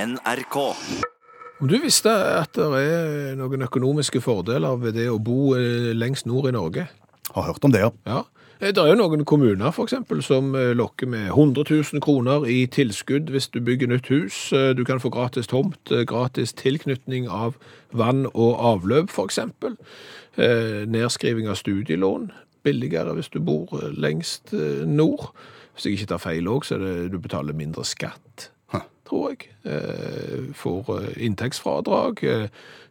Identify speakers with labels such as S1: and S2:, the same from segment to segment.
S1: NRK.
S2: Om du visste at det er noen økonomiske fordeler ved det å bo eh, lengst nord i Norge?
S3: Har hørt om det, ja.
S2: Ja. Eh, Det er jo noen kommuner for eksempel, som eh, lokker med 100 000 kroner i tilskudd hvis du bygger nytt hus. Eh, Du kan få gratis tomt, eh, gratis tilknytning av vann og avløp for eksempel. Eh, Nedskriving av studielån, billigere hvis du bor eh, lengst eh, nord. Hvis jeg ikke tar feil også, så er det du betaler mindre skatt tror jeg. Eh, Får eh, inntektsfradrag. eh,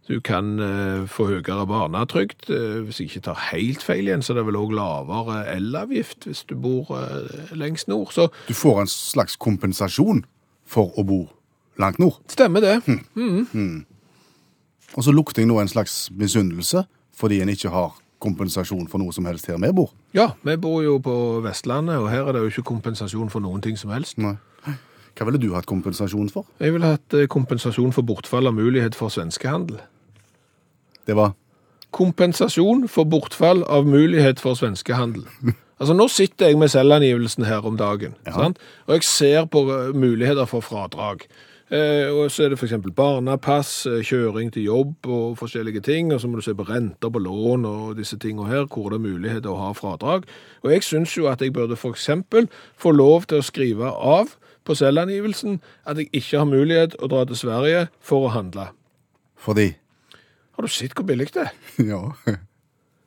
S2: Du kan eh, få høyere barnetrygd. eh, Hvis jeg ikke tar helt feil igjen, så er det vel òg lavere elavgift hvis du bor eh, lengst nord. Så
S3: Du får en slags kompensasjon for å bo langt nord.
S2: stemmer det.
S3: Og så lukter jeg nå en slags misunnelse fordi en ikke har kompensasjon for noe som helst her vi bor.
S2: Ja, vi bor jo på Vestlandet, og her er det jo ikke kompensasjon for noen ting som helst.
S3: Nei. Hva ville du hatt kompensasjon for?
S2: Jeg ville hatt eh, kompensasjon for bortfall av mulighet for svenskehandel.
S3: Det var
S2: Kompensasjon for bortfall av mulighet for svenskehandel. Altså, nå sitter jeg med selvangivelsen her om dagen, sant? og jeg ser på eh, muligheter for fradrag. Eh, og så er det for eksempel barnepass, eh, kjøring til jobb og forskjellige ting, og så må du se på renter på lån og disse tingene her, hvor det er muligheter å ha fradrag. Og jeg synes jo at jeg burde for eksempel få lov til å skrive av på selvangivelsen at jeg ikke har mulighet å dra til Sverige for å handle.
S3: fordi
S2: Har du sett hvor billig det er?
S3: Ja.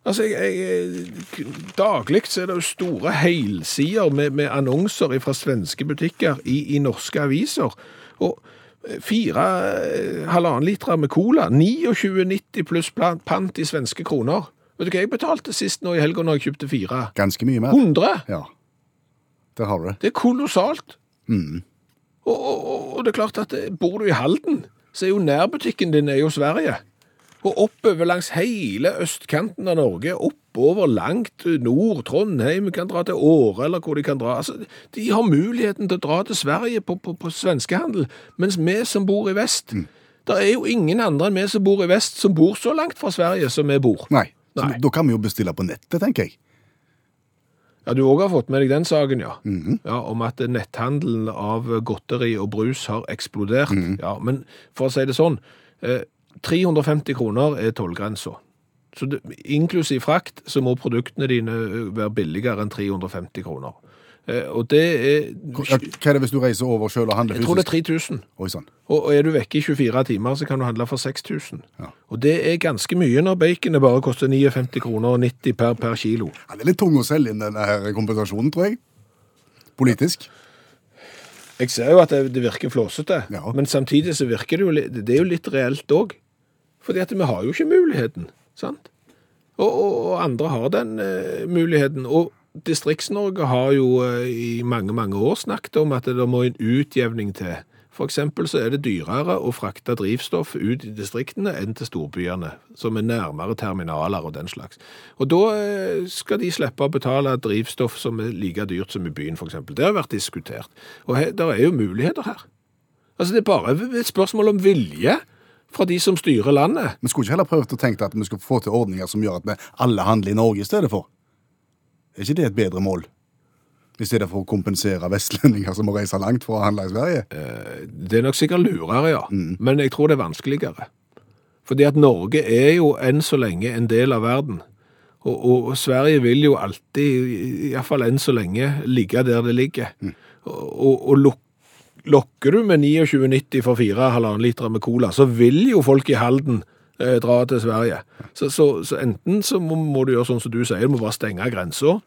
S2: Altså, jeg, jeg, daglig så er det jo store helsider med, med annonser fra svenske butikker i, i norske aviser. Og fire eh, halvannen liter med cola, 29,90 pluss plan- pant i svenske kroner. Vet du hva jeg betalte sist nå i helgen når jeg kjøpte fire?
S3: Ganske mye mer.
S2: 100!
S3: Ja. Der har du det.
S2: Det er kolossalt.
S3: Mm.
S2: Og, og, og- og det er klart at eh, bor du i Halden, så er jo nærbutikken din er jo Sverige. Og oppover langs hele østkanten av Norge, oppover langt nord, Trondheim kan dra til Åre, eller hvor de kan dra. Altså, de har muligheten til å dra til Sverige på, på, på svenskehandel, mens vi som bor i vest, det er jo ingen andre enn vi som bor i vest, som bor så langt fra Sverige som vi bor.
S3: Nei. Så
S2: Nei.
S3: Da kan vi jo bestille på nettet, tenker jeg.
S2: Ja, Du òg har fått med deg den saken, ja. ja. Om at netthandelen av godteri og brus har eksplodert. Ja, Men for å si det sånn, eh, 350 kroner er tollgrensa. Så det, inklusiv frakt så må produktene dine eh, være billigere enn 350 kroner. Eh, og det er
S3: Hva hva er det hvis du reiser over sjøl og handler
S2: Jeg tror det
S3: fysisk?
S2: er 3000.
S3: Oi sånn. sann.
S2: Og og er du vekke i 24 timer, så kan du handle for 6000.
S3: Ja.
S2: Og det er ganske mye når baconet bare koster 59 kroner og 90 per, per kilo.
S3: Ja, det er litt tung å selge inn denne her kompensasjonen, tror jeg. Politisk.
S2: Jeg ser jo at det, det virker flåsete,
S3: Ja.
S2: men samtidig så virker det jo litt, det er jo litt reelt òg. Fordi at vi har jo ikke muligheten, sant? Og, og, og andre har den eh, muligheten. Og Distrikts-Norge har jo eh, i mange, mange år snakket om at det må en utjevning til. For eksempel så er det dyrere å frakte drivstoff ut i distriktene enn til storbyene, som er nærmere terminaler og den slags. Og da eh, skal de slippe å betale drivstoff som er like dyrt som i byen, for eksempel. Det har vært diskutert. Og he- der er jo muligheter her. Altså, det er bare et spørsmål om vilje fra de som styrer landet.
S3: Vi skulle ikke heller prøvd å tenke at vi skulle få til ordninger som gjør at vi alle handler i Norge i stedet for. Er ikke det et bedre mål? I stedet for å kompensere vestlendinger som må reise langt for å handle i Sverige?
S2: Det er nok sikkert lurere, ja. Men jeg tror det er vanskeligere. Fordi at Norge er jo enn så lenge en del av verden. Og, og, og Sverige vil jo alltid, iallfall enn så lenge, ligge der det ligger. Og, og, og luk, lokker du med 29,90 for 4,5 liter med cola, så vil jo folk i Halden eh, dra til Sverige. Så, så, så enten så må, må du gjøre sånn som du sier, du må bare stenge grensa.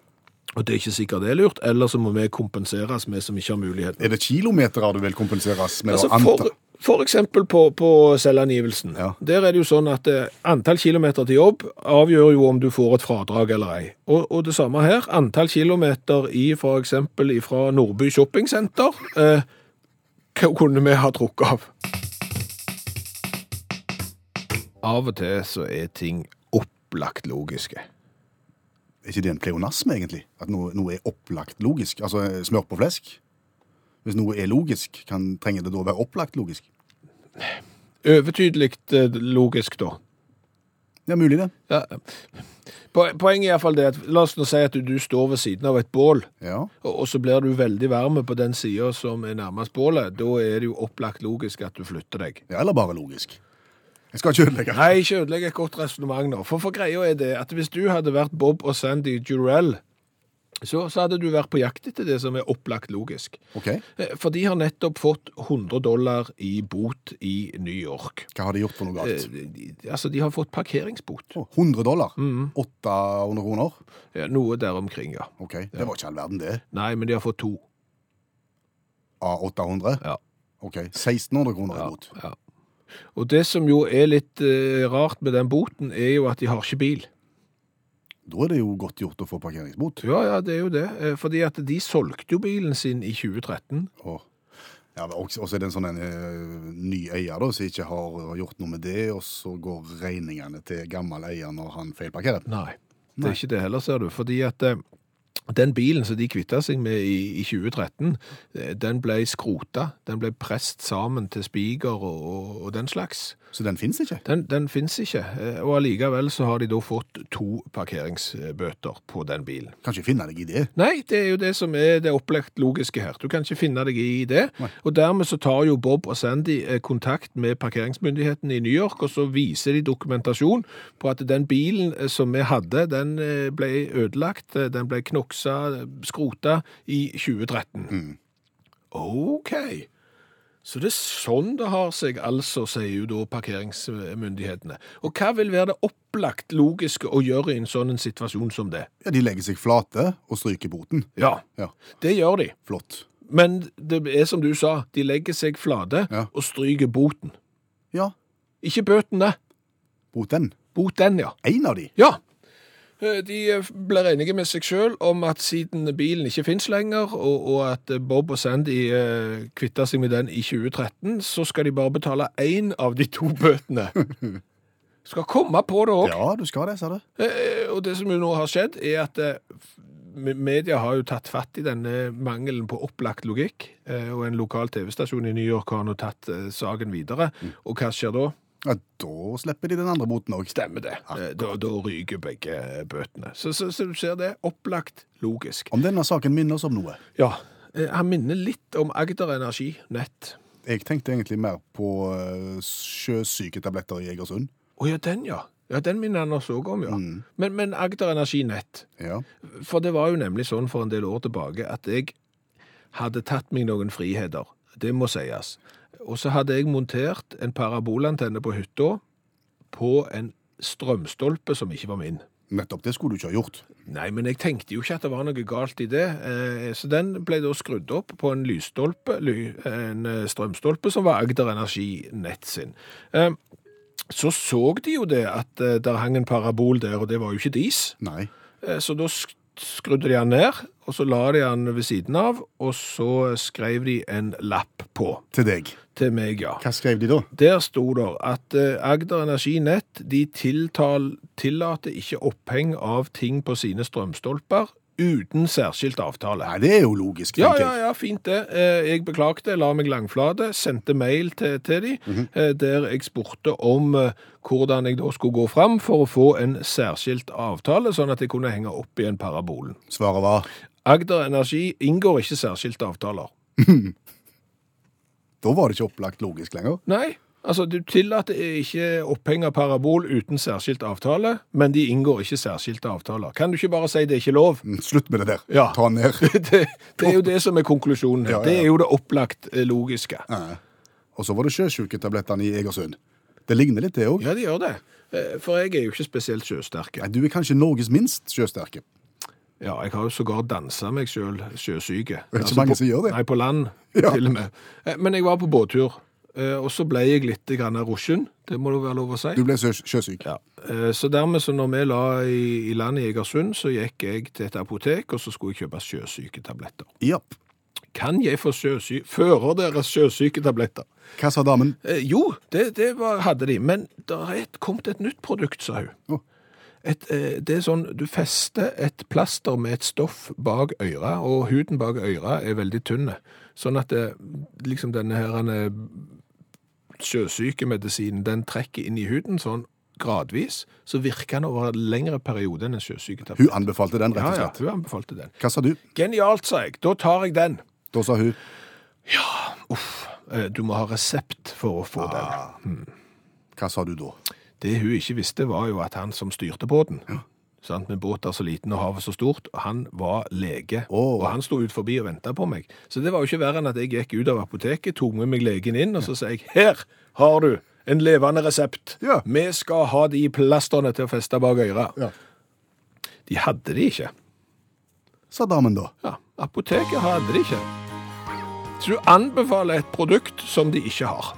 S2: Og det er ikke sikkert det er lurt. Eller så må vi kompenseres, vi som ikke har muligheten.
S3: Er det kilometer du vil kompenseres med å
S2: Altså,
S3: anta?
S2: for, for eksempel på, på selvangivelsen.
S3: Ja.
S2: Der er det jo sånn at eh, antall kilometer til jobb avgjør jo om du får et fradrag eller ei. Og, og det samme her. Antall kilometer i for eksempel fra Nordby shoppingsenter eh, kunne vi ha trukket av. Av og til så er ting opplagt logiske.
S3: Er ikke det en pleonasme, egentlig? At noe, noe er opplagt logisk? Altså smør på flesk? Hvis noe er logisk, kan, trenger det da å være opplagt logisk?
S2: Overtydelig eh, logisk, da.
S3: Ja, mulig det.
S2: Ja. Po- Poenget er iallfall det at la oss nå si at du, du står ved siden av et bål,
S3: Ja.
S2: og, og så blir du veldig varm på den sida som er nærmest bålet. Da er det jo opplagt logisk at du flytter deg.
S3: ja, eller bare logisk. Jeg skal ikke ødelegge.
S2: Nei, ikke ødelegg et godt resonnement nå. For, for greia er det at hvis du hadde vært Bob og Sandy Jurell, så, så hadde du vært på jakt etter det som er opplagt logisk.
S3: Ok,
S2: Eh, For de har nettopp fått 100 dollar i bot i New York.
S3: hva har de gjort for noe
S2: Eh,
S3: galt?
S2: de- Altså, de har fått parkeringsbot. Mm.
S3: Å, 100 dollar? 800 kroner?
S2: Ja, Noe der omkring, ja.
S3: Ok, det var ikke all verden det.
S2: Nei, men de har fått to.
S3: Av 800?
S2: Ja.
S3: Ok, 1600 kroner i bot.
S2: Ja. Og det som jo er litt eh, rart med den boten, er jo at de har ikke bil.
S3: Da er det jo godt gjort å få parkeringsbot.
S2: Ja, ja, det er jo det. Eh, Fordi at de solgte jo bilen sin i 2013.
S3: Og ja, men også, også er det en sånn en, eh, ny eier da, som ikke har eh, gjort noe med det, og så går regningene til gammel eier når han feilparkerer.
S2: Nei, det er ikke det heller, ser du. Fordi at eh, den bilen som de kvitta seg med i, i 2013, eh, den ble skrota. Den ble prest sammen til spiker og, og, og den slags.
S3: Så den finnes ikke.
S2: Den, den fins ikke. eh, Og allikevel så har de da fått to parkeringsbøter på den bilen.
S3: Kan ikke finne deg i det.
S2: Nei, det er jo det som er det opplagt logiske her. Du kan ikke finne deg i det. Og dermed så tar jo Bob og Sandy eh, kontakt med parkeringsmyndigheten i New York, og så viser de dokumentasjon på at den bilen eh, som vi hadde, den eh, ble ødelagt, eh, den ble knoksa, eh, skrota i 2013. Ok. Så det er sånn det har seg, altså, sier jo da parkeringsmyndighetene. Og hva vil være det opplagt logiske å gjøre i en sånn en situasjon som det?
S3: Ja, de legger seg flate og stryker boten.
S2: Ja,
S3: Ja,
S2: det gjør de.
S3: flott.
S2: Men det er som du sa, de legger seg flate
S3: Ja.
S2: og stryker boten.
S3: Ja,
S2: Ikke bøtene.
S3: boten.
S2: Bot den, ja.
S3: En av de.
S2: Ja! Eh, De eh, blir enige med seg sjøl om at siden bilen ikke fins lenger, og, og at eh, Bob og Sandy eh, kvitta seg med den i 2013, så skal de bare betale én av de to bøtene. Skal komme på det òg.
S3: Ja, du skal det, sa du.
S2: Eh, Og det som jo nå har skjedd, er at eh, f- me- media har jo tatt fatt i denne mangelen på opplagt logikk, eh, og en lokal TV-stasjon i New York har nå tatt eh, saken videre. Og hva skjer da?
S3: Ja, da slipper de den andre boten òg.
S2: Stemmer det. Eh, Da, da ryker begge eh, bøtene. Så, så, så du ser det. Opplagt logisk.
S3: Om denne saken minner oss om noe.
S2: Ja, eh, han minner litt om Agder Energi Nett.
S3: Jeg tenkte egentlig mer på eh, sjøsyketabletter i Egersund.
S2: Å ja, den ja. Ja, Den minner han oss òg om,
S3: Mm.
S2: ja. Men, men Agder Energi Nett
S3: Ja.
S2: For det var jo nemlig sånn for en del år tilbake at jeg hadde tatt meg noen friheter. Det må sies. Og så hadde jeg montert en parabolantenne på hytta på en strømstolpe som ikke var min.
S3: Nettopp. Det skulle du ikke ha gjort.
S2: Nei, men jeg tenkte jo ikke at det var noe galt i det. Eh, Så den ble da skrudd opp på en lysstolpe, ly- en eh, strømstolpe som var Agder Energi Nett sin. Eh, Så så de jo det at eh, der hang en parabol der, og det var jo ikke dis.
S3: Nei.
S2: Eh, Så da sk- skrudde de han ned, og så la de han ved siden av, og så skrev de en lapp på.
S3: Til deg.
S2: Til meg, ja.
S3: Hva skrev de da?
S2: Der sto det at eh, Agder Energi Nett de tiltal, tillater ikke oppheng av ting på sine strømstolper uten særskilt avtale.
S3: Nei, det er jo logisk,
S2: Ja,
S3: tenker
S2: ja, ja, fint det. Eh, Jeg beklagte, la meg langflate, sendte mail til, til de, eh, der jeg spurte om eh, hvordan jeg da skulle gå fram for å få en særskilt avtale, sånn at jeg kunne henge opp igjen parabolen.
S3: jeg. Svaret var
S2: Agder Energi inngår ikke særskilte avtaler.
S3: Da var det ikke opplagt logisk lenger.
S2: Nei, altså du tillater ikke oppheng av parabol uten særskilt avtale, men de inngår ikke særskilte avtaler. Kan du ikke bare si det er ikke lov?
S3: Mm, Slutt med det der.
S2: Ja.
S3: Ta ned.
S2: Det, det er jo det som er konklusjonen her.
S3: Ja, ja, ja.
S2: Det er jo det opplagt eh, logiske.
S3: Nei. Og så var det sjøsyketablettene i Egersund. Det ligner litt, det òg.
S2: Ja, det gjør det. Eh, For jeg er jo ikke spesielt sjøsterke.
S3: Du er kanskje Norges minst sjøsterke.
S2: Ja, jeg har jo sågar dansa meg sjøl sjøsyke. Altså,
S3: Det er ikke mange
S2: på,
S3: som gjør det.
S2: Nei, på land,
S3: Ja.
S2: til og med. Eh, Men jeg var på båttur, eh, og så ble jeg litt grann rushen. Det må det være lov å si.
S3: Du ble sjø sjøsyk.
S2: Ja. eh, Så dermed, så når vi la i, i land i Egersund, så gikk jeg til et apotek, og så skulle jeg kjøpe sjøsyketabletter.
S3: Japp.
S2: Kan jeg få sjøsy... Fører dere sjøsyketabletter?
S3: Hva sa damen?
S2: Eh, jo, det, det var, hadde de, men det er et, kommet et nytt produkt, sa hun.
S3: Å.
S2: Et, eh, det er sånn, du fester et plaster med et stoff bak øyra, og huden bak øyra er veldig tynne. Sånn at det, eh, liksom denne her, denne sjøsykemedisinen, den trekker inn i huden sånn gradvis, så virker den over en lengre periode enn en sjøsyketablett.
S3: Hun anbefalte den, rett
S2: Ja,
S3: og
S2: ja,
S3: slett.
S2: hun anbefalte den.
S3: Hva sa du?
S2: Genialt, sa jeg. Da tar jeg den.
S3: Da sa hun
S2: Eh, Du må ha resept for å få den.
S3: Hva sa du da?
S2: Det hun ikke visste, var jo at han som styrte båten sant, Med båter så liten og havet så stort. og Han var lege,
S3: Åh.
S2: og han sto ut forbi og venta på meg. Så det var jo ikke verre enn at jeg gikk ut av apoteket, tok med meg legen inn, og så sa jeg Her har du en levende resept.
S3: Ja.
S2: Vi skal ha de plasterne til å feste bak øret.
S3: Ja.
S2: De hadde de ikke.
S3: Sa damen da.
S2: Ja, apoteket hadde de ikke. Så du anbefaler et produkt som de ikke har.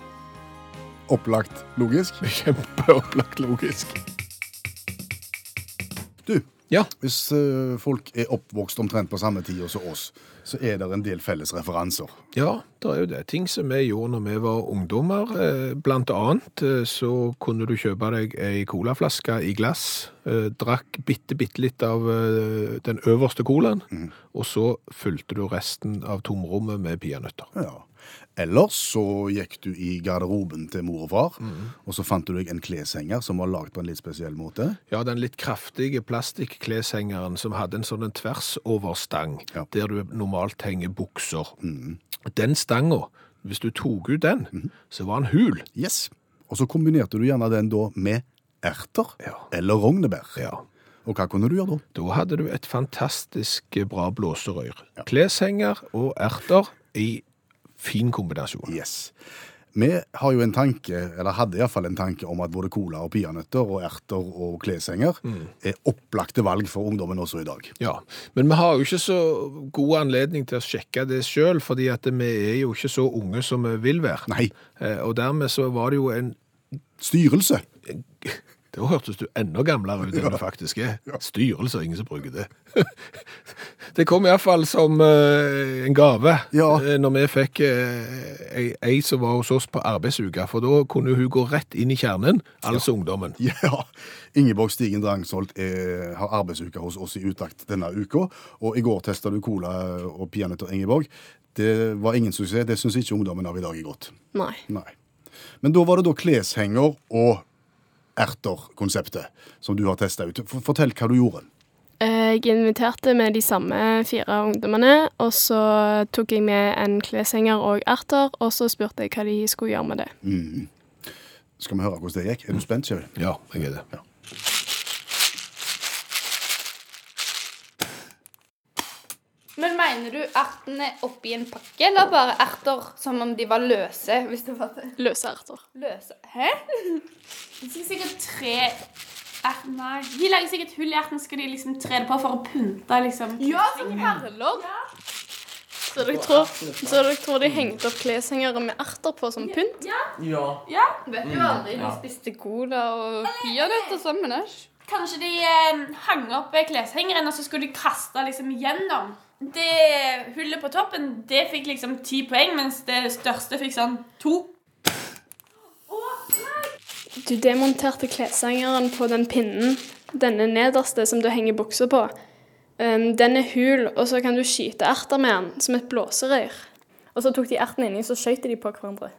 S3: Opplagt logisk.
S2: Kjempeopplagt logisk.
S3: Du,
S2: Ja.
S3: hvis eh, folk er oppvokst omtrent på samme tid som oss, så er det en del felles referanser.
S2: Ja, det er jo det. Ting som vi gjorde når vi var ungdommer. Eh, Blant annet eh, så kunne du kjøpe deg ei colaflaske i glass, eh, drakk bitte, bitte litt av eh, den øverste colaen, og så fylte du resten av tomrommet med peanøtter.
S3: Ja. Ellers så gikk du i garderoben til mor og far, og så fant du deg en kleshenger som var lagd på en litt spesiell måte.
S2: Ja, den litt kraftige plastikkleshengeren som hadde en sånn en tvers over stang,
S3: Ja.
S2: der du normalt henger bukser. Den stangen, hvis du tok ut den, så var den hul.
S3: Yes. Og så kombinerte du gjerne den da med erter
S2: Ja.
S3: eller rognebær.
S2: Ja.
S3: Og hva kunne du gjøre da?
S2: Da hadde du et fantastisk eh, bra blåserøyr. Kleshenger og erter i fin kombinasjon.
S3: Yes. Vi har jo en tanke, eller hadde iallfall en tanke, om at både cola og peanøtter og erter og kleshenger er opplagte valg for ungdommen også i dag.
S2: Ja, Men vi har jo ikke så god anledning til å sjekke det sjøl, fordi at vi er jo ikke så unge som vi vil være.
S3: Nei,
S2: Eh, Og dermed så var det jo en
S3: styrelse!
S2: Da hørtes du enda gamlere ut enn du faktisk er. Styrelse er ingen som bruker det. det kom iallfall som eh, en gave
S3: Ja.
S2: eh, når vi fikk eh, ei, ei som var hos oss på arbeidsuka, for da kunne hun gå rett inn i kjernen, altså ungdommen.
S3: Ja, Ingeborg Stigen Drangsholt er, har arbeidsuke hos oss i utakt denne uka, og i går testa du cola og peanøtter, Ingeborg. Det var ingen suksess, det syns ikke ungdommen av i dag er godt.
S1: Nei.
S3: Nei. Men da var det da kleshenger og erter-konseptet som du har testa ut. For- Fortell hva du gjorde.
S1: Eh, Jeg inviterte med de samme fire ungdommene, og så tok jeg med en kleshenger og erter, og så spurte jeg hva de skulle gjøre med det.
S3: Skal vi høre hvordan det gikk? Er du spent, Kjell?
S2: Ja, jeg er det.
S4: Men mener du ertene oppi en pakke, eller bare erter som om de var løse? Hvis det var det?
S1: Løse erter.
S4: løse Hæ?
S5: De skal sikkert tre er, Nei. De lager sikkert hull i erten, så skal de liksom tre det på for å pynte, liksom.
S4: Ja, som perler.
S1: Så dere tror, så dere tror de hengte opp kleshengere med erter på som pynt?
S6: Ja.
S5: Ja.
S4: Vet jo aldri. De spiste cola og peanøtter sammen. æsj.
S5: Kanskje de eh, hang opp kleshengeren, og så skulle de kaste liksom gjennom. Det hullet på toppen, det fikk liksom ti poeng, mens det største fikk sånn to.
S1: Du demonterte kleshengeren på den pinnen, denne nederste som du henger buksa på. Um, den er hul, og så kan du skyte erter med den, som et blåserøyr. Og så tok de ertene inni, så skjøt de på hverandre.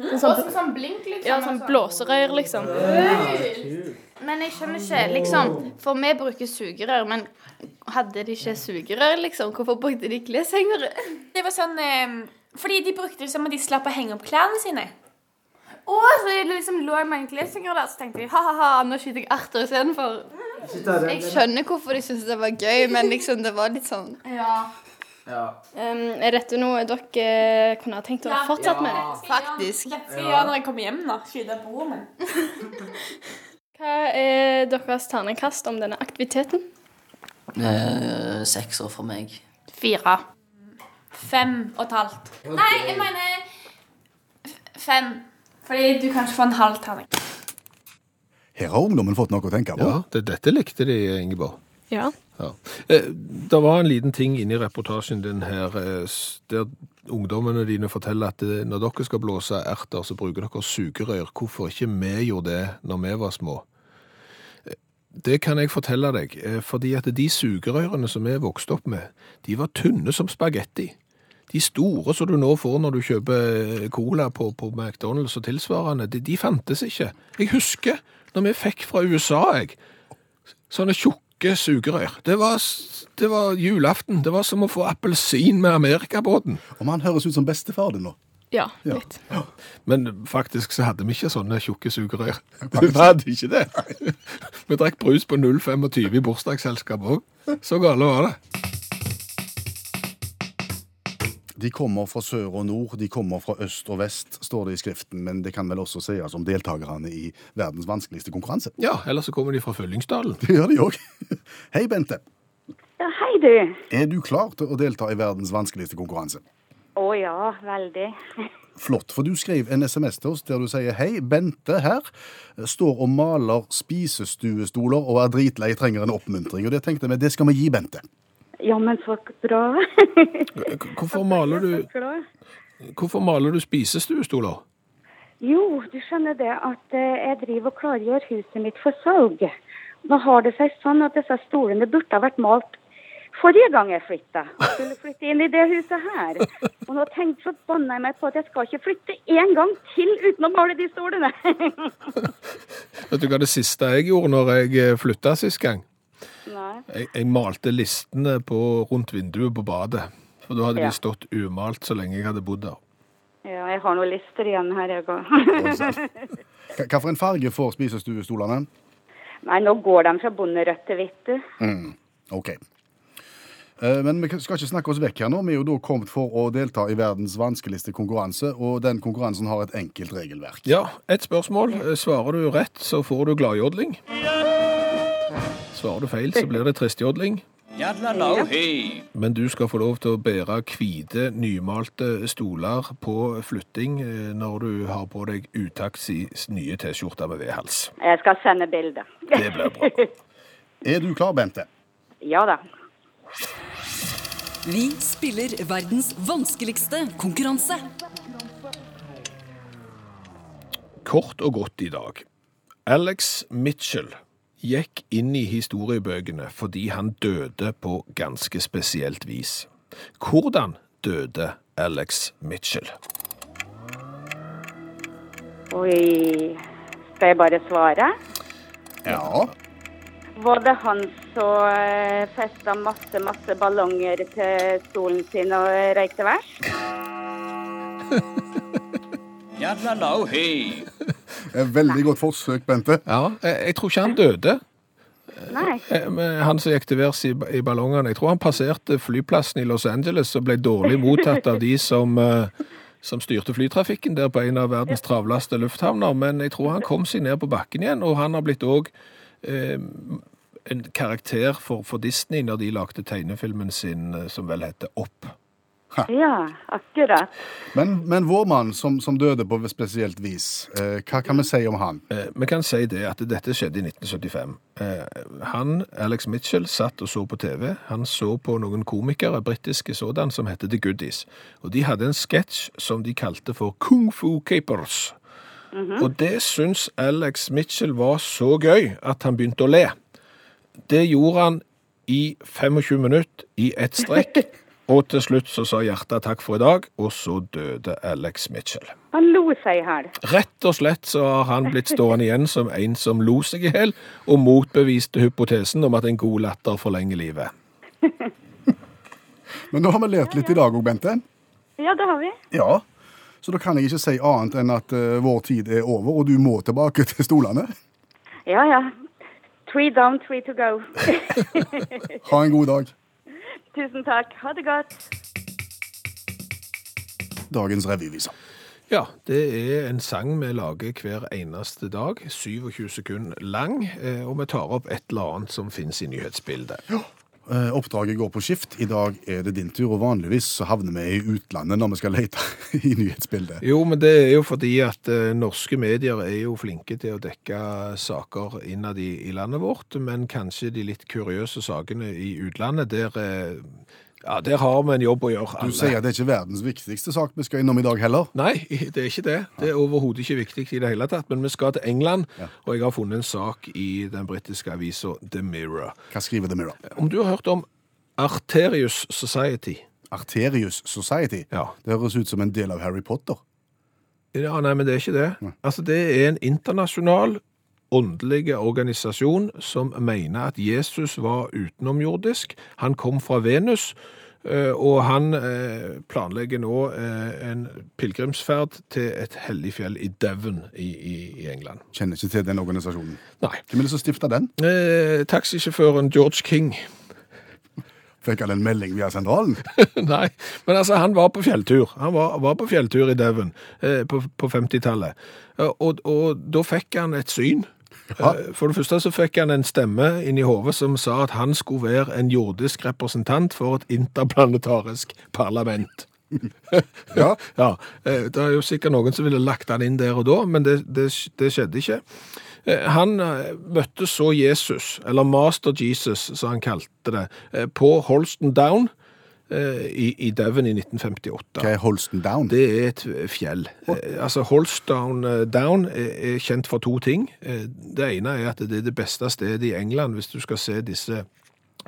S4: Og som sånn blink, liksom.
S1: Ja, sånn blåserøyr, liksom.
S4: Men jeg skjønner ikke, liksom. For vi bruker sugerør, men hadde de ikke sugerør, liksom? Hvorfor brukte de kleshengere?
S5: Det var sånn eh, Fordi de brukte det som om de slapp å henge opp klærne sine.
S4: Å, så det liksom lå mange kleshengere der, så tenkte jeg ha-ha, nå skyter jeg erter istedenfor. Jeg skjønner hvorfor de syntes det var gøy, men liksom, det var litt sånn
S6: Ja.
S1: Um, er dette noe dere kunne ha tenkt å ha
S5: Ja.
S1: fortsatt med?
S6: Ja.
S4: Faktisk.
S5: Dette skal jeg gjøre når jeg kommer hjem, da. Skyte broren min.
S1: Hva er deres ternekast om denne aktiviteten?
S6: Eh, Sekser for meg.
S4: Fire.
S5: Fem og et halvt. Nei, jeg mener f- fem. Fordi du kan ikke få en halv terning.
S3: Her har ungdommen fått noe å tenke på.
S2: Ja, det, Dette likte de, Ingeborg.
S1: Ja.
S2: Ja. Eh, Det var en liten ting inni reportasjen din her, eh, s- der ungdommene dine forteller at eh, når dere skal blåse erter, så bruker dere sugerør. Hvorfor ikke vi gjorde det når vi var små? Eh, Det kan jeg fortelle deg, eh, fordi at de sugerørene som vi vokste opp med, de var tynne som spagetti. De store som du nå får når du kjøper eh, cola på, på McDonald's og tilsvarende, de, de fantes ikke. Jeg husker når vi fikk fra USA, jeg, sånne tjukke sugerør. Det var, s- det var julaften. Det var som å få appelsin med amerikabåten.
S3: Om han høres ut som bestefar din nå.
S1: Ja,
S3: Ja.
S1: litt.
S2: Men faktisk så hadde vi ikke sånne tjukke sugerør. Vi hadde ikke det. Vi drakk brus på 0,25 i bursdagsselskap òg. Så gale var det.
S3: De kommer fra sør og nord, de kommer fra øst og vest, står det i skriften, men det kan vel også sies om deltakerne i verdens vanskeligste konkurranse.
S2: Ja, ellers så kommer de fra Fyllingsdalen.
S3: Det gjør de òg. Hei, Bente.
S7: Ja, hei du.
S3: Er du klar til å delta i verdens vanskeligste konkurranse?
S7: Å ja, veldig.
S3: Flott, for du skrev en SMS til oss der du sier hei, Bente her står og maler spisestuestoler og er dritlei, trenger en oppmuntring. Og det tenkte vi, det skal vi gi Bente.
S7: Ja, men så bra.
S2: K- Hvorfor maler du,
S7: Så glad.
S2: hvorfor maler du spisestuestoler?
S7: Jo, du skjønner det at eh, jeg driver og klargjør huset mitt for salg. Nå har det seg sånn at disse stolene burde ha vært malt forrige gang jeg flytta. og Skulle flytte inn i det huset her. Og nå tenkte forbanna jeg meg på at jeg skal ikke flytte én gang til uten å male de stolene.
S2: Vet du hva det siste jeg gjorde når jeg flytta sist gang?
S7: Nei.
S2: Jeg, jeg malte listene på, rundt vinduet på badet. For da hadde
S7: Ja.
S2: de stått umalt så lenge jeg hadde bodd der.
S7: Ja, jeg har noen lister igjen her, jeg òg.
S3: Hva hva for en farge får spisestuestolene?
S7: Nei, nå går de fra bonderødt til hvitt, du.
S3: OK. Eh, Men vi skal ikke snakke oss vekk her nå. Vi er jo da kommet for å delta i verdens vanskeligste konkurranse, og den konkurransen har et enkelt regelverk.
S2: Ja, ett spørsmål. Svarer du rett, så får du gladjodling. Svarer du feil, så blir det tristjodling. Men du skal få lov til å bære hvite, nymalte stoler på flytting eh, når du har på deg Utakts nye T-skjorte med V-hals.
S7: Jeg skal sende bilde.
S2: Det blir bra.
S3: Er du klar, Bente?
S7: Ja da.
S8: Vi spiller verdens vanskeligste konkurranse.
S2: Kort og godt i dag. Alex Mitchell gikk inn i historiebøkene fordi han døde på ganske spesielt vis. Hvordan døde Alex Mitchell?
S7: Oi. Skal jeg bare svare?
S3: Ja.
S7: Var det han som eh, festa masse, masse ballonger til stolen sin og røykte vers?
S3: Et Eh, veldig godt forsøk, Bente.
S2: Ja, jeg, jeg tror ikke han døde.
S7: Nei.
S2: Eh, men Han som gikk til værs i, i ballongene. Jeg tror han passerte flyplassen i Los Angeles og ble dårlig mottatt av de som, eh, som styrte flytrafikken der på en av verdens travleste lufthavner. Men jeg tror han kom seg ned på bakken igjen, og han har blitt òg eh, en karakter for, for Disney når de lagde tegnefilmen sin eh, som vel heter Opp.
S7: Ja, akkurat.
S3: Men, men vår mann som, som døde på spesielt vis, eh, hva kan vi si om han?
S2: Eh, Vi kan si det at dette skjedde i 1975. Eh, Han, Alex Mitchell, satt og så på TV. Han så på noen komikere, britiske sådan, som hette The Goodies. Og de hadde en sketsj som de kalte for Kung Fu Capers. Og det syns Alex Mitchell var så gøy at han begynte å le. Det gjorde han i 25 minutter i ett strekk. Og til slutt så sa hjertet takk for i dag, og så døde Alex Mitchell.
S7: Han lo seg i hæl.
S2: Rett og slett så har han blitt stående igjen som en som lo seg i hjel, og motbeviste hypotesen om at en god latter forlenger livet.
S3: Men nå har vi lært litt i dag òg, Bente.
S7: Ja, det har vi.
S3: Ja. Så da kan jeg ikke si annet enn at eh, vår tid er over, og du må tilbake til stolene.
S7: Ja, ja. Three down, three to go.
S3: Ha en god dag.
S7: Tusen takk. Ha det godt.
S3: Dagens revyvise.
S2: Ja, det er en sang vi lager hver eneste dag, 27 sekunder lang, eh, og vi tar opp et eller annet som finnes i nyhetsbildet.
S3: Eh, Oppdraget går på skift. I dag er det din tur, og vanligvis så havner vi i utlandet når vi skal lete i nyhetsbildet.
S2: Jo, men det er jo fordi at eh, norske medier er jo flinke til å dekke saker innad i, i landet vårt, men kanskje de litt kuriøse sakene i utlandet, der, eh, ja, der har vi en jobb å gjøre.
S3: Du
S2: alle.
S3: sier at det er ikke verdens viktigste sak vi skal innom i dag heller.
S2: Nei, det er ikke det. Det er overhodet ikke viktig i det hele tatt. Men vi skal til England, og jeg har funnet en sak i den britiske avisa The Mirror.
S3: Hva skriver The Mirror?
S2: Om du har hørt om Arterius Society?
S3: Arterius Society.
S2: Ja.
S3: Det høres ut som en del av Harry Potter.
S2: Ja, nei, men det er ikke det. Altså, det er en internasjonal åndelig organisasjon som mener at Jesus var utenomjordisk. Han kom fra Venus, eh, og han eh, planlegger nå eh, en pilegrimsferd til et hellig fjell i Devon i, i, i England.
S3: Kjenner ikke til den organisasjonen.
S2: Nei.
S3: Hvem er det som stifta den?
S2: Eh, taxisjåføren George King.
S3: Fikk han en melding via sentralen?
S2: Nei, men altså, han var på fjelltur. Han var, var på fjelltur i Devon eh, på, på 50-tallet. Eh, Og, og da fikk han et syn.
S3: Ja.
S2: Eh, For det første så fikk han en stemme inni hodet som sa at han skulle være en jordisk representant for et interplanetarisk parlament.
S3: Ja.
S2: Ja, eh, Det er jo sikkert noen som ville lagt han inn der og da, men det, det, det skjedde ikke. Eh, Han eh, møtte så Jesus, eller Master Jesus, som han kalte det, eh, på Holston Down eh, i, i Devon i 1958.
S3: Hva er Holsten Down?
S2: Det er et fjell. Eh, Altså Holstown eh, Down er, er kjent for to ting. Eh, Det ene er at det er det beste stedet i England hvis du skal se disse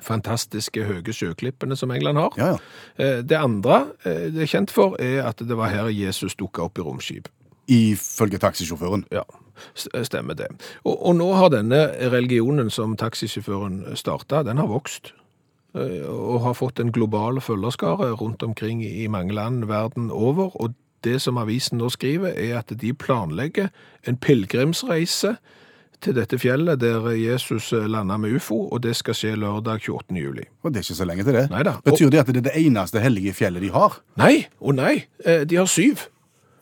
S2: fantastiske høye sjøklippene som England har.
S3: Ja, ja.
S2: Eh, Det andre eh, det er kjent for, er at det var her Jesus dukka opp i romskip.
S3: Ifølge taxisjåføren.
S2: Ja, s- stemmer det. Og, og nå har denne religionen som taxisjåføren starta, den har vokst. eh, Og har fått en global følgerskare rundt omkring i mange land verden over. Og det som avisen nå skriver, er at de planlegger en pilegrimsreise til dette fjellet der Jesus landa med ufo, og det skal skje lørdag 28. juli.
S3: Og det er ikke så lenge til det.
S2: Neida.
S3: Betyr det at det er det eneste hellige fjellet de har?
S2: Nei, å nei, eh, de har syv.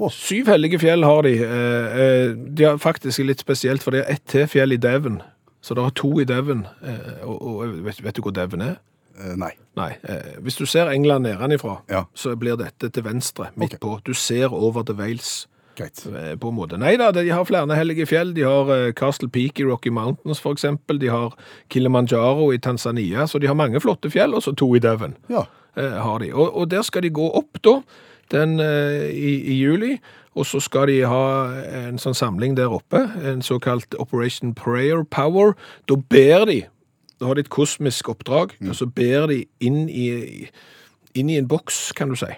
S3: Å.
S2: Syv hellige fjell har de. Eh, eh, De har faktisk litt spesielt, for de har ett til fjell i Devon. Så det er to i Devon. Eh, Og, og vet, vet du hvor Devon er?
S3: Eh, nei.
S2: Nei. eh, Hvis du ser England nedenifra,
S3: Ja.
S2: så blir dette til venstre, midt
S3: Ok.
S2: på. Du ser over til Wales.
S3: Greit.
S2: Eh, på en måte. Nei da, de har flere hellige fjell. De har eh, Castle Peak i Rocky Mountains, for eksempel. De har Kilimanjaro i Tanzania. Så de har mange flotte fjell, og så to i Devon.
S3: Ja.
S2: Eh, har de. Og, og der skal de gå opp da, den, eh, i, i juli. Og så skal de ha en sånn samling der oppe, en såkalt Operation Prayer Power. Da ber de, da har de et kosmisk oppdrag, og så ber de inn i, inn i en boks, kan du si.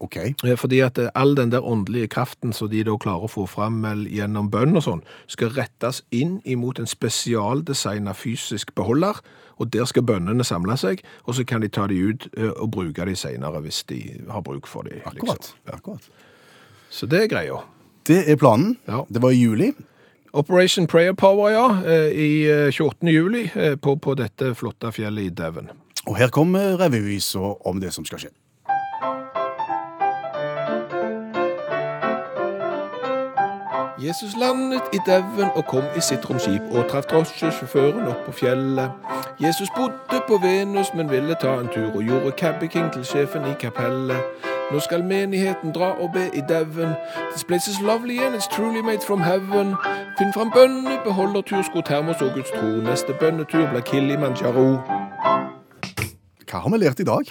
S3: OK.
S2: Eh, Fordi at eh, all den der åndelige kraften som de da klarer å få fram eh, gjennom bønn og sånn, skal rettes inn imot en spesialdesignet fysisk beholder, og der skal bønnene samle seg, og så kan de ta de ut eh, og bruke de senere hvis de har bruk for de. liksom.
S3: Akkurat. Akkurat.
S2: Så det er greia.
S3: Det er planen.
S2: Ja.
S3: Det var i juli.
S2: Operation Prayer Power, ja, eh, i eh, 28. juli eh, på, på dette flotte fjellet i Devon.
S3: Og her kommer revyvisa om det som skal skje.
S2: Jesus landet i Devon og kom i sitt romskip og traff drosjesjåføren opp på fjellet. Jesus bodde på Venus, men ville ta en tur og gjorde cabbyking til sjefen i kapellet. Nå skal menigheten dra og be i Devon. This place is lovely and it's truly made from heaven. Finn fram bønne, beholder tur, sko, termos og Guds tro. Neste bønnetur blir Kilimanjaro.
S3: Hva har vi lært i dag?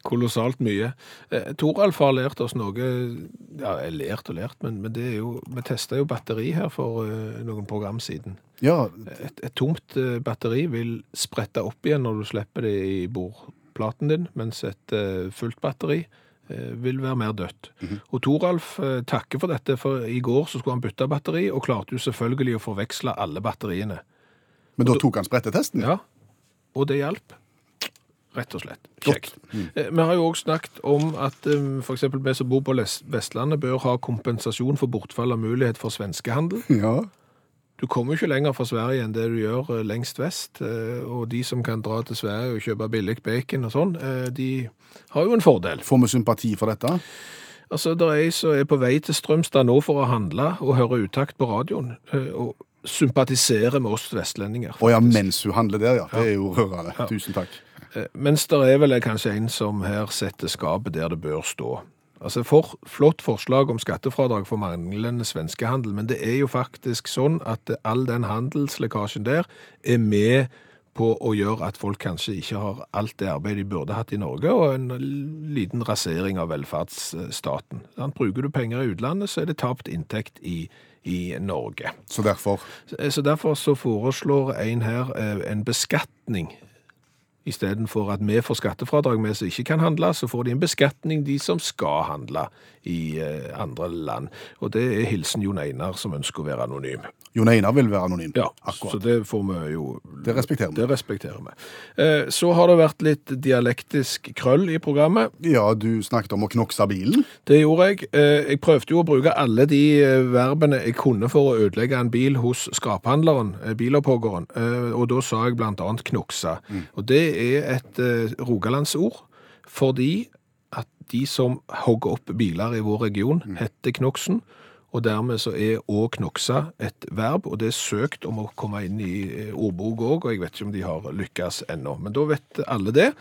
S2: Kolossalt mye. Eh, Toralf har lært oss noe Ja, jeg lært og lært, men, men det er jo Vi testa jo batteri her for eh, noen program siden.
S3: Ja,
S2: Et, et tomt eh, batteri vil sprette opp igjen når du slipper det i bordplaten din, mens et eh, fullt batteri eh, vil være mer dødt. Og Toralf eh, takker for dette, for i går så skulle han bytte batteri, og klarte jo selvfølgelig å forveksle alle batteriene.
S3: Men da tok han sprettetesten?
S2: Ja, og det hjalp. Rett og slett.
S3: Godt.
S2: Kjekt. Eh, Vi har jo òg snakket om at f.eks. vi som bor på Les- Vestlandet, bør ha kompensasjon for bortfall av mulighet for svenskehandel.
S3: Ja.
S2: Du kommer jo ikke lenger fra Sverige enn det du gjør eh, lengst vest. eh, Og de som kan dra til Sverige og kjøpe billig bacon og sånn, eh, de har jo en fordel.
S3: Får vi sympati for dette?
S2: Altså, det er ei som er på vei til Strømstad nå for å handle og høre utakt på radioen. eh, Og sympatiserer med oss vestlendinger.
S3: Å ja, mens hun handler der, ja. Det er jo rørende. Tusen takk.
S2: Eh, Mens det er vel kanskje en som her setter skapet der det bør stå. Altså, for, Flott forslag om skattefradrag for manglende svenskehandel, men det er jo faktisk sånn at all den handelslekkasjen der er med på å gjøre at folk kanskje ikke har alt det arbeidet de burde hatt i Norge, og en liten rasering av velferdsstaten. Sant? Bruker du penger i utlandet, så er det tapt inntekt i, i Norge.
S3: Så derfor
S2: Så derfor så foreslår en her eh, en eh, beskatning Istedenfor at vi får skattefradrag vi som ikke kan handle, så får de en beskatning, de som skal handle i eh, andre land. Og det er hilsen Jon Einar, som ønsker å være anonym.
S3: Jon Einar vil være anonym.
S2: Ja,
S3: Akkurat.
S2: Så det får vi jo
S3: Det respekterer vi.
S2: Det respekterer vi. Eh, Så har det vært litt dialektisk krøll i programmet.
S3: Ja, du snakket om å knokse bilen.
S2: Det gjorde jeg. Eh, Jeg prøvde jo å bruke alle de eh, verbene jeg kunne for å ødelegge en bil hos skraphandleren, eh, bilopphoggeren, Eh, og da sa jeg blant annet knokse. Og det er et eh, rogalandsord, fordi at de som hogger opp biler i vår region, heter knoksen, og dermed så er å knokse et verb, og det er søkt om å komme inn i eh, ordbok òg, og jeg vet ikke om de har lykkes ennå. Men da vet alle det.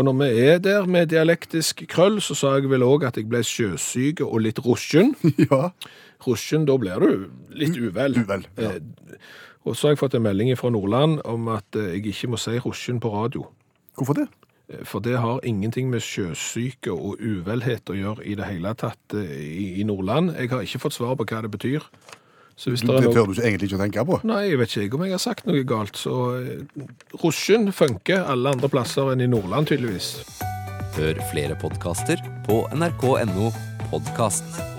S2: Og når vi er der med dialektisk krøll, så sa jeg vel òg at jeg ble sjøsyk og litt rusjen.
S3: Ja.
S2: Rusjen, da blir du litt uvel.
S3: Mm, Uvel, ja.
S2: Eh, Og så har jeg fått en melding fra Nordland om at eh, jeg ikke må si rusjen på radio.
S3: Hvorfor det?
S2: Eh, For det har ingenting med sjøsyke og uvelhet å gjøre i det hele tatt eh, i, i Nordland. Jeg har ikke fått svar på hva det betyr. Så hvis
S3: Det
S2: det er noe
S3: tør du ikke egentlig ikke å tenke på.
S2: Nei, jeg vet ikke jeg om jeg har sagt noe galt, så eh, Rusjen funker alle andre plasser enn i Nordland, tydeligvis.
S9: Hør flere podkaster på nrk.no podkast.